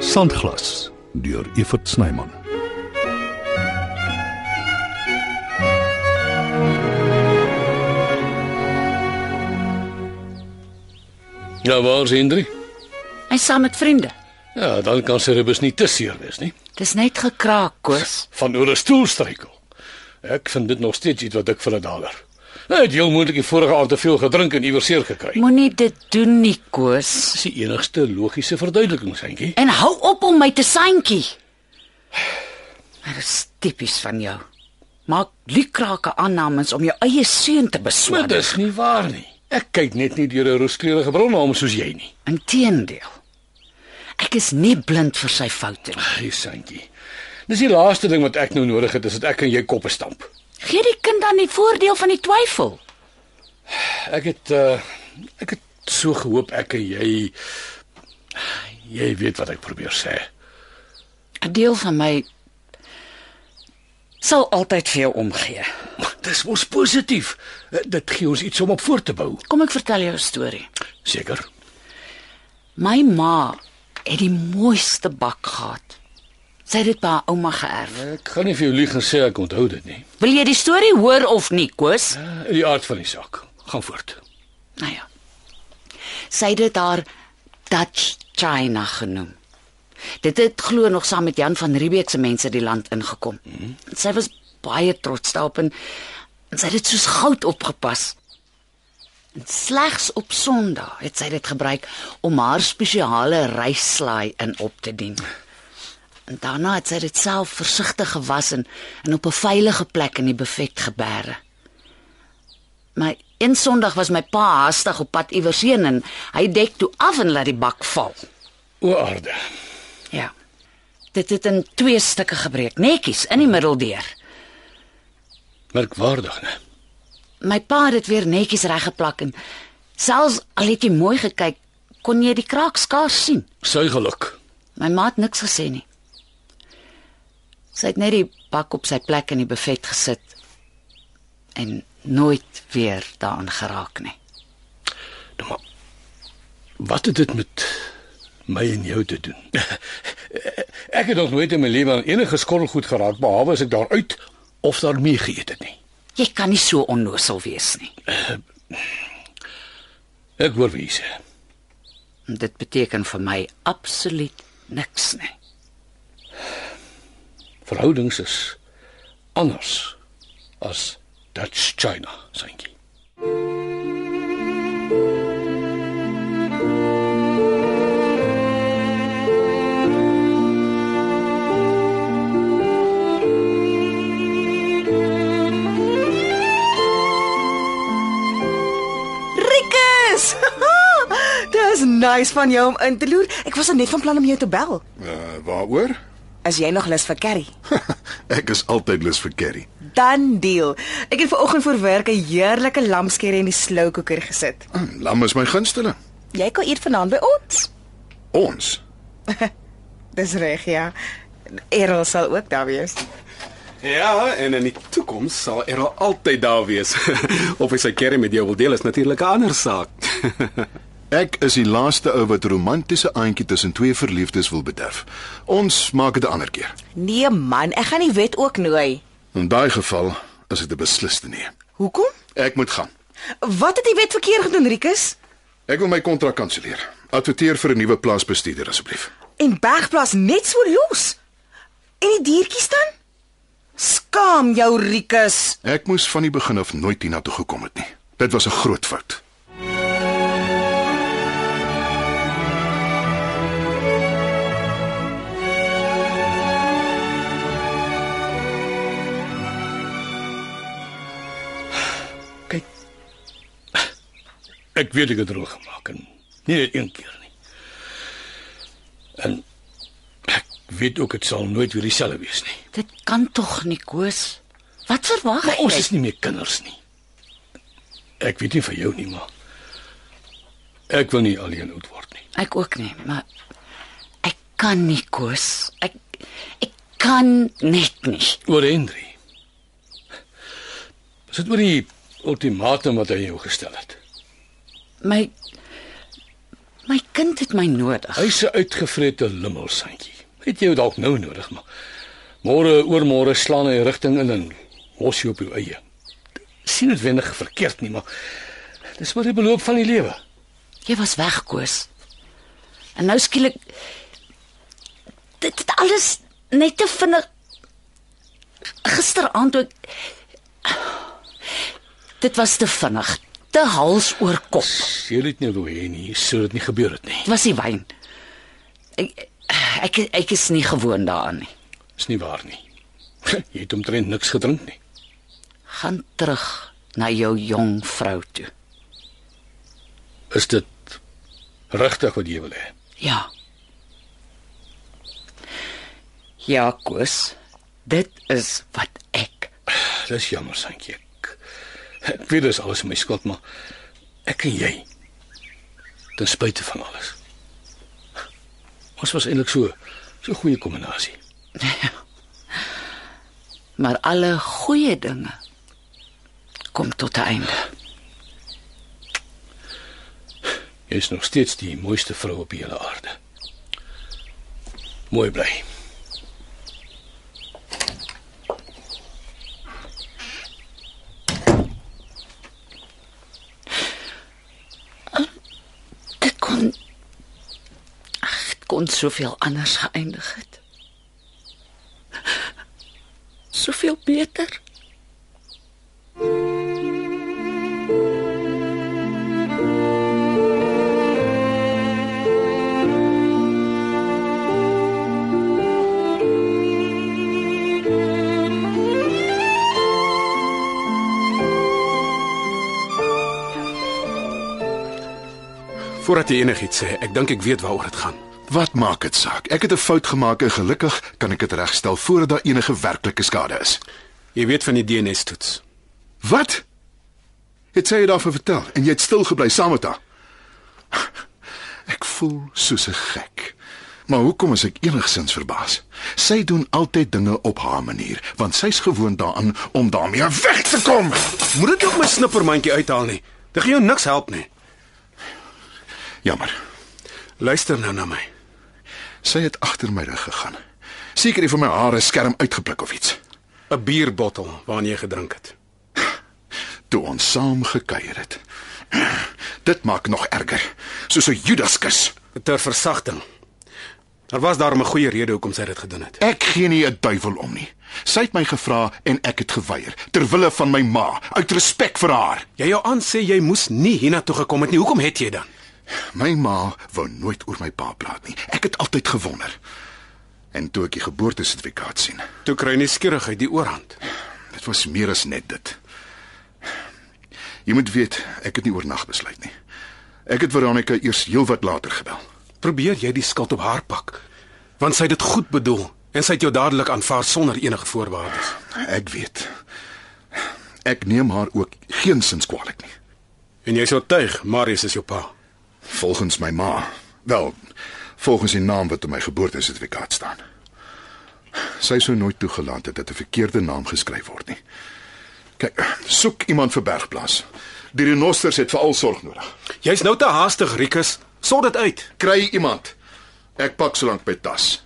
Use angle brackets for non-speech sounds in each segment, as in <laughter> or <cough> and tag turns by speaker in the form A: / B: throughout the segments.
A: Sandglas deur Evert Snyman.
B: Ja, waar's Hendrik?
C: Hy saam met vriende.
B: Ja, dan kan sy rebus nie te seer wees nie.
C: Dis net gekraak, Koos.
B: Van oor 'n stoel struikel. Ek vind dit nog steeds iets wat ek vir 'n daler. Hy het heel moontlik die vorige aand te veel gedrink en iewers seer gekry.
C: Moenie dit doen nie, Koos.
B: Dis die enigste logiese verduideliking, seentjie.
C: En hou op om my te seintjie. Dit is tipies van jou. Maak liekrake aannames om jou eie seun te
B: Maar
C: beswaar.
B: dis nie waar nie. Ek kyk net nie deur 'n rooskleurige bron na hom soos jy nie.
C: Inteendeel. Ek is nie blind vir sy foute nie.
B: Hey, seentjie. Dis die laaste ding wat ek nou nodig het, is dat ek aan jou koppe stamp.
C: Gee die kind dan die voordeel van die twyfel.
B: Ek het uh ek het so gehoop ek en jy jy weet wat ek probeer sê.
C: 'n Deel van my sal altyd vir jou omgee.
B: Dis mos positief. Eh, Dit gee ons iets om op voor te bou.
C: Kom ek vertel jou 'n storie.
B: Seker.
C: My ma het die mooiste bak gehad. Sy het dit by haar ouma geërf.
B: Ek gaan nie vir jou lieg en sê ek onthou dit nie.
C: Wil jy die storie hoor of nie, Koos?
B: Eh, In die aard van die saak. Gaan voort.
C: Nou ja. Sy het dit haar Dutch China genoem. Dit het glo nog saam met Jan van Riebeeck se mense die land ingekom. Sy was baie trots daarop en, en sy het dit soos goud opgepas. En slegs op Sondag het sy dit gebruik om haar spesiale rysslaai in op te dien. En daarna het sy dit self versigtig gewas en, en op 'n veilige plek in die buffet geberg. Maar een Sondag was my pa haastig op pad iewers heen en hy dek toe af en laat die bak val.
B: O aarde.
C: Ja. Dit het in twee stukke gebreek, netjies in die middel deur.
B: Merkwaardig, né?
C: My pa het dit weer netjies reggeplak en selfs al het jy mooi gekyk, kon jy die kraak skaars sien.
B: Sy geluk.
C: My ma het niks gesê nie. Sy het net die bak op sy plek in die buffet gesit en nooit weer daaraan geraak nie.
B: Nou maar. Wat het dit met my en jou te doen? <laughs> ek het nog nooit in my lewe aan enige skorrelgoed geraak behalwe as ek daaruit of daarmee geëet het nie.
C: Jy kan nie so onnosel wees nie.
B: Ek hoor wie jy sê.
C: Dit beteken vir my absoluut niks nie.
B: Verhoudings is anders as Dutch China, sankie.
D: Rikus. <laughs> Dis nice van jou om in te loer. Ek was al net van plan om jou te bel.
E: Uh, waaroor?
D: As jy nog lus vir curry,
E: <laughs> ek is altyd lus vir curry.
D: dan deal. Ek het vanoggend voor werk 'n heerlike lamskerry in die slowcooker gesit.
E: Mm, lam is my gunsteling.
D: Jy kan eet vanaand by ons.
E: Ons.
D: <laughs> Dis reg, ja. Errol sal ook daar wees.
F: Ja, en in die toekoms sal er altyd daar wees. <laughs> of hy sy kerry met jou wil deel is natuurlik 'n ander saak. <laughs>
E: Ek is die laaste ou wat 'n romantiese aantjie tussen twee verliefdes wil bederf. Ons maak dit 'n ander keer.
D: Nee man, ek gaan nie wet ook nooi.
E: In daai geval is dit 'n besliste nee.
D: Hoekom?
E: Ek moet gaan.
D: Wat het die wet verkeerd gedoen, Rikus?
E: Ek wil my kontrak kanselleer. Adverteer vir 'n nuwe plaasbestuurder asseblief.
D: En bergplaas net so los. En die diertjies dan? Skaam jou, Rikus.
E: Ek moes van die begin af nooit hiernatoe gekom het nie. Dit was 'n groot fout.
B: Kyk. Ek weet ek het droog gemaak en nie net een keer nie. En ek weet ook dit sal nooit weer dieselfde wees nie.
C: Dit kan tog nie, Koos. Wat verwag
B: Maar ons
C: jy?
B: is nie meer kinders nie. Ek weet nie vir jou nie, maar ek wil nie alleen oud word nie.
C: Ek ook nie, maar ek kan nie, Koos. Ek ek kan net nie.
B: Oor Henry. Is dit oor die ultimatum wat hy jou gestel het?
C: My My kind het my nodig.
B: Hy's 'n uitgevrete lummelsandjie. Het jy dalk nou nodig, maar môre oormôre slaan hy rigting in en los jou op jou eie. Sien dit wendig verkeerd nie, maar dis maar die beloop van die lewe.
C: Jy was weg, Koos. En nou skielik dit het alles net te vinnig gisteraand toe ek dit was te vinnig, te hals oor kop.
B: Jy het nie wou hê nie, sou dit nie gebeur het nie.
C: Dit was die wyn. Ek ek ek is nie gewoond daaraan nie.
B: Dis nie waar nie. <laughs> Jy het omtrent niks gedrink nie.
C: Gaan terug na jou jong vrou toe.
B: Is dit regtig wat jy wil hê?
C: Ja. Ja, Koos. Dit is wat ek.
B: Dis jammer, Santjie. Ek, ek weet dis alles my skuld, maar ek en jy ten spyte van alles. Ons was eintlik so so 'n goeie kombinasie.
C: Maar alle goeie dinge kom tot 'n einde.
B: Jy is nog steeds die mooiste vrou op die hele aarde. Mooi bly.
C: Dit kon Ag, dit kon soveel anders geëindig het. Soveel beter.
F: Voordat jy enigiets sê, ek dink ek weet waaroor dit gaan.
E: Wat maak dit saak? Ek het 'n fout gemaak en gelukkig kan ek dit regstel voordat daar enige werklike skade is.
F: Jy weet van die DNA-toets.
E: Wat? Het sy jou daarvan vertel en jy het stil gebly saam met haar? Ek voel soos 'n gek. Maar hoekom is ek enigsins verbaas? Sy doen altyd dinge op haar manier, want sy's gewoond daaraan om daarmee weg te kom.
F: Moet dit op my snippermandjie uithaal nie. Dit gaan jou niks help nie.
E: Jammer.
F: Luister nou na my.
E: Sy het agter my rug gegaan. Seker het vir my hare skerm uitgepluk of iets.
F: 'n Bierbottel waarna jy gedrink het.
E: toe ons saam gekuier het. Dit maak nog erger, soos 'n Judaskus.
F: Ter versagting. Daar was daarom 'n goeie rede hoekom sy dit gedoen het.
E: Ek gee nie 'n duiwel om nie. Sy het my gevra en ek het geweier ter wille van my ma, uit respek vir haar.
F: Jy jou aan sê jy moes nie hiernatoe gekom het nie. Hoekom het jy dan?
E: My ma wou nooit oor my pa praat nie. Ek het altyd gewonder. En toe ek die geboortesertifikaat sien,
F: Toe kry jy nuuskierigheid die oorhand.
E: dit was meer as net dit. Jy moet weet, ek het nie oornag besluit nie. Ek het Veronica eers heelwat later gebel.
F: Probeer jy die skuld op haar pak, want sy het dit goed bedoel en sy het jou dadelik aanvaar sonder enige voorwaardes.
E: Ek weet. Ek neem haar ook geensins kwaadlik nie.
F: En jy's oortuig Marius is jou pa.
E: Volgens my ma. Wel, volgens die naam wat op my geboortesertifikaat staan. Sy sou nooit toegelaat het dat 'n verkeerde naam geskryf word nie. Kyk, soek iemand vir bergplaas. Die renosters het veral sorg nodig.
F: Jy's nou te haastig, Rikus. Sort dit uit.
E: Kry iemand. Ek pak solank my tas.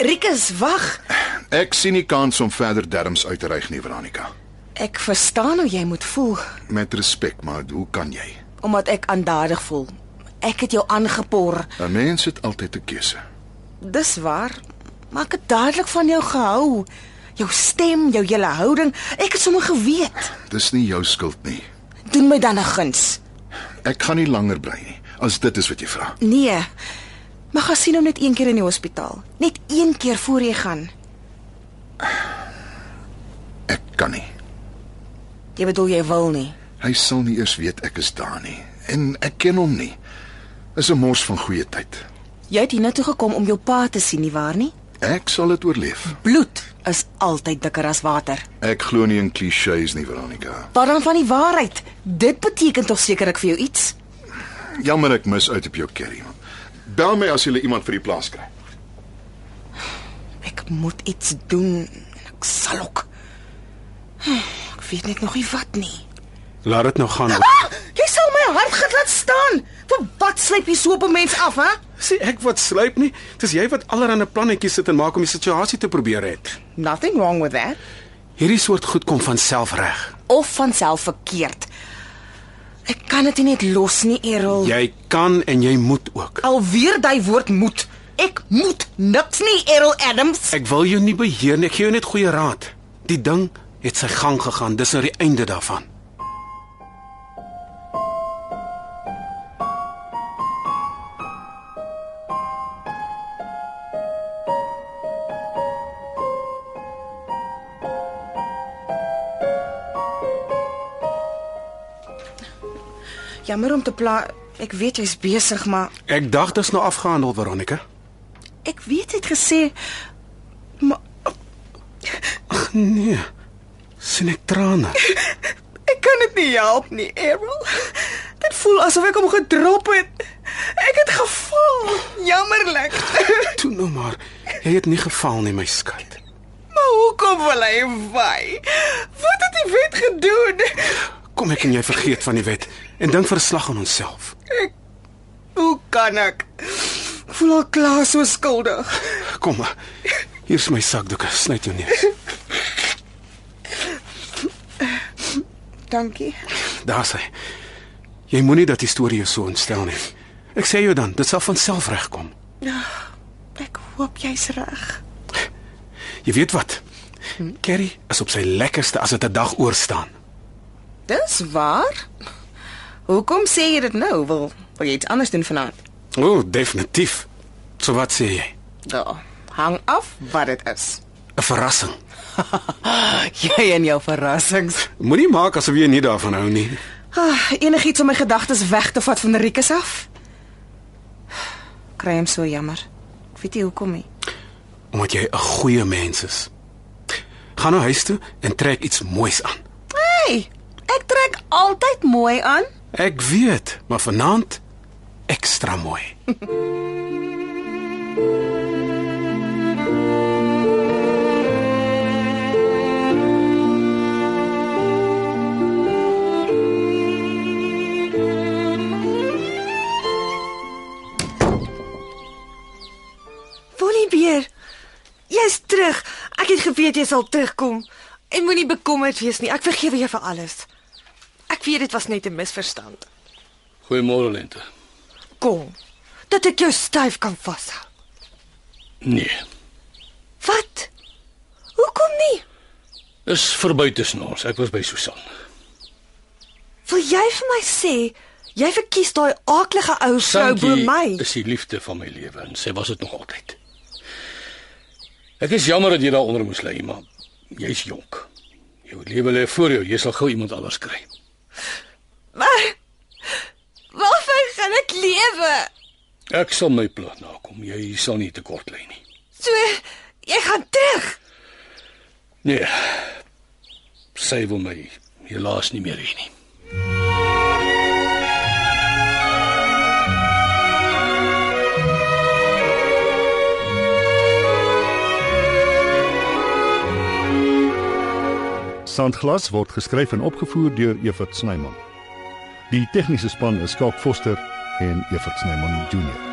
D: Rikus, wag.
E: Ek sien nie kans om verder derms uit te reig nie, Veronica.
D: Ek verstaan hoe jy moet voel
E: Met respek, maar hoe kan jy?
D: omdat ek aandadig voel. Ek het jou aangepor.
E: 'n Mens het altyd 'n keuse.
D: Dis waar. Maar ek het dadelik van jou gehou. Jou stem, jou hele houding, ek het sommer geweet.
E: Dis nie jou skuld nie.
D: Doen my dan 'n guns.
E: Ek gaan nie langer bly nie as dit is wat jy vra.
D: Nee. Maar gaan sien hom net een keer in die hospitaal. Net een keer voor jy gaan.
E: Ek kan nie.
D: Jy bedoel jy wil nie.
E: Hy sal nie eers weet ek is daar nie en ek ken hom nie. Is 'n mors van goeie tyd.
D: Jy het hiernatoe gekom om jou pa te sien, nie waar nie?
E: Ek sal dit oorleef.
D: Bloed is altyd dikker as water.
E: Ek glo nie in klisjées nie, Veronica.
D: Wat dan van die waarheid? Dit beteken tog sekerlik vir jou iets.
E: Jammer ek mis uit op jou curry. Bel my as jy iemand vir die plaas kry.
D: Ek moet iets doen. Ek sal ook. <sighs> Ek weet net nog nie wat nie.
B: Laat dit nou gaan. <laughs>
D: Ah, jy sal my hart gat laat staan. Vir wat slyp jy so op 'n mens af, hè?
B: Sê ek wat sluip nie. Dis jy wat allerhande plannetjies sit en maak om die situasie te probeer red.
D: Nothing wrong with that.
B: Hierdie soort goed kom van self reg.
D: Of van self verkeerd. Ek kan dit nie net los nie, Errol.
B: Jy kan en jy moet ook.
D: Alweer daai woord moet. Ek moet niks nie, Errol Adams.
B: Ek wil jou nie beheer nie. Ek gee jou net goeie raad. Die ding het sy gang gegaan. Dis nou die einde daarvan.
D: Jammer om te pla. Ek weet jy's besig, maar
B: Ek dacht dit is nou afgehandel, Veronica.
D: ek weet jy het gesê maar
B: Nee. sien ek trane.
D: ek kan dit nie help nie, Errol. Dit voel asof ek hom gedrop het. Ek het geval. Jammerlik. <laughs>
B: Toe nou maar. Jy het nie geval nie, my skat.
D: maar hoekom wil hy vaai? Wat het die wet gedoen?
B: Kom ek en jy vergeet van die wet en dink verslag aan onsself.
D: Hoe kan ek? Ek voel al klaar so skuldig.
B: Kom maar. Hier's my sakdoek. Snyt jou neus.
D: Dankie.
B: Daar sê. Jy moenie dat die storie jou so ontstel nie. Ek sê jou dan, dit sal van self regkom.
D: Ek hoop jy's reg.
B: Jy weet wat? Kerry is op sy lekkerste as dit 'n dag oorstaan.
D: Dis waar. Hoekom sê jy dit nou? Wil wil jy iets anders doen vanaand?
B: O, oh, definitief. So wat sê jy?
D: Ja, hang af wat dit is.
B: 'n Verrassing.
D: <laughs> Jy en jou verrassings.
B: Moenie maak asof jy nie daarvan hou nie.
D: Ah, enigiets om my gedagtes weg te vat van Rikus af. Kry hom so jammer. Ek weet nie hoekom nie.
B: Omdat jy 'n goeie mens is. Gaan nou huis toe en trek iets moois aan.
D: Hey, ek trek altyd mooi aan.
B: Ek weet, maar vanaand ekstra mooi.
G: Bonniebeer, jy's terug. Ek het geweet jy sal terugkom. En moenie bekommerd wees nie. Ek vergewe jou vir alles. Ek weet dit was net 'n misverstand.
A: Goeiemôre Lente.
G: Kom. Dat ek jou styf kan vashou.
A: Nee,
G: Wat? Hoekom nie?
A: is verby tussen ons. Ek was by Susan.
G: Wil jy vir my sê jy verkies daai aaklige ou vrou bo
A: Sankie
G: my?
A: is die liefde van my lewe en sy was dit nog altyd. Ek is jammer dat jy daaronder moes lê, maar jy's jonk. Jou lewe lê voor jou. Jy sal gou iemand anders kry.
G: Maar waarvoor gaan ek lewe?
A: Ek sal my plan nakom. Jy sal nie tekort lê nie.
G: So jy gaan terug.
A: Nee. Sy wil my helaas nie meer hê nie.
E: Sandglas word geskryf en opgevoer deur Evert Snyman. Die tegniese span is Skalk Foster en Evert Snyman Junior.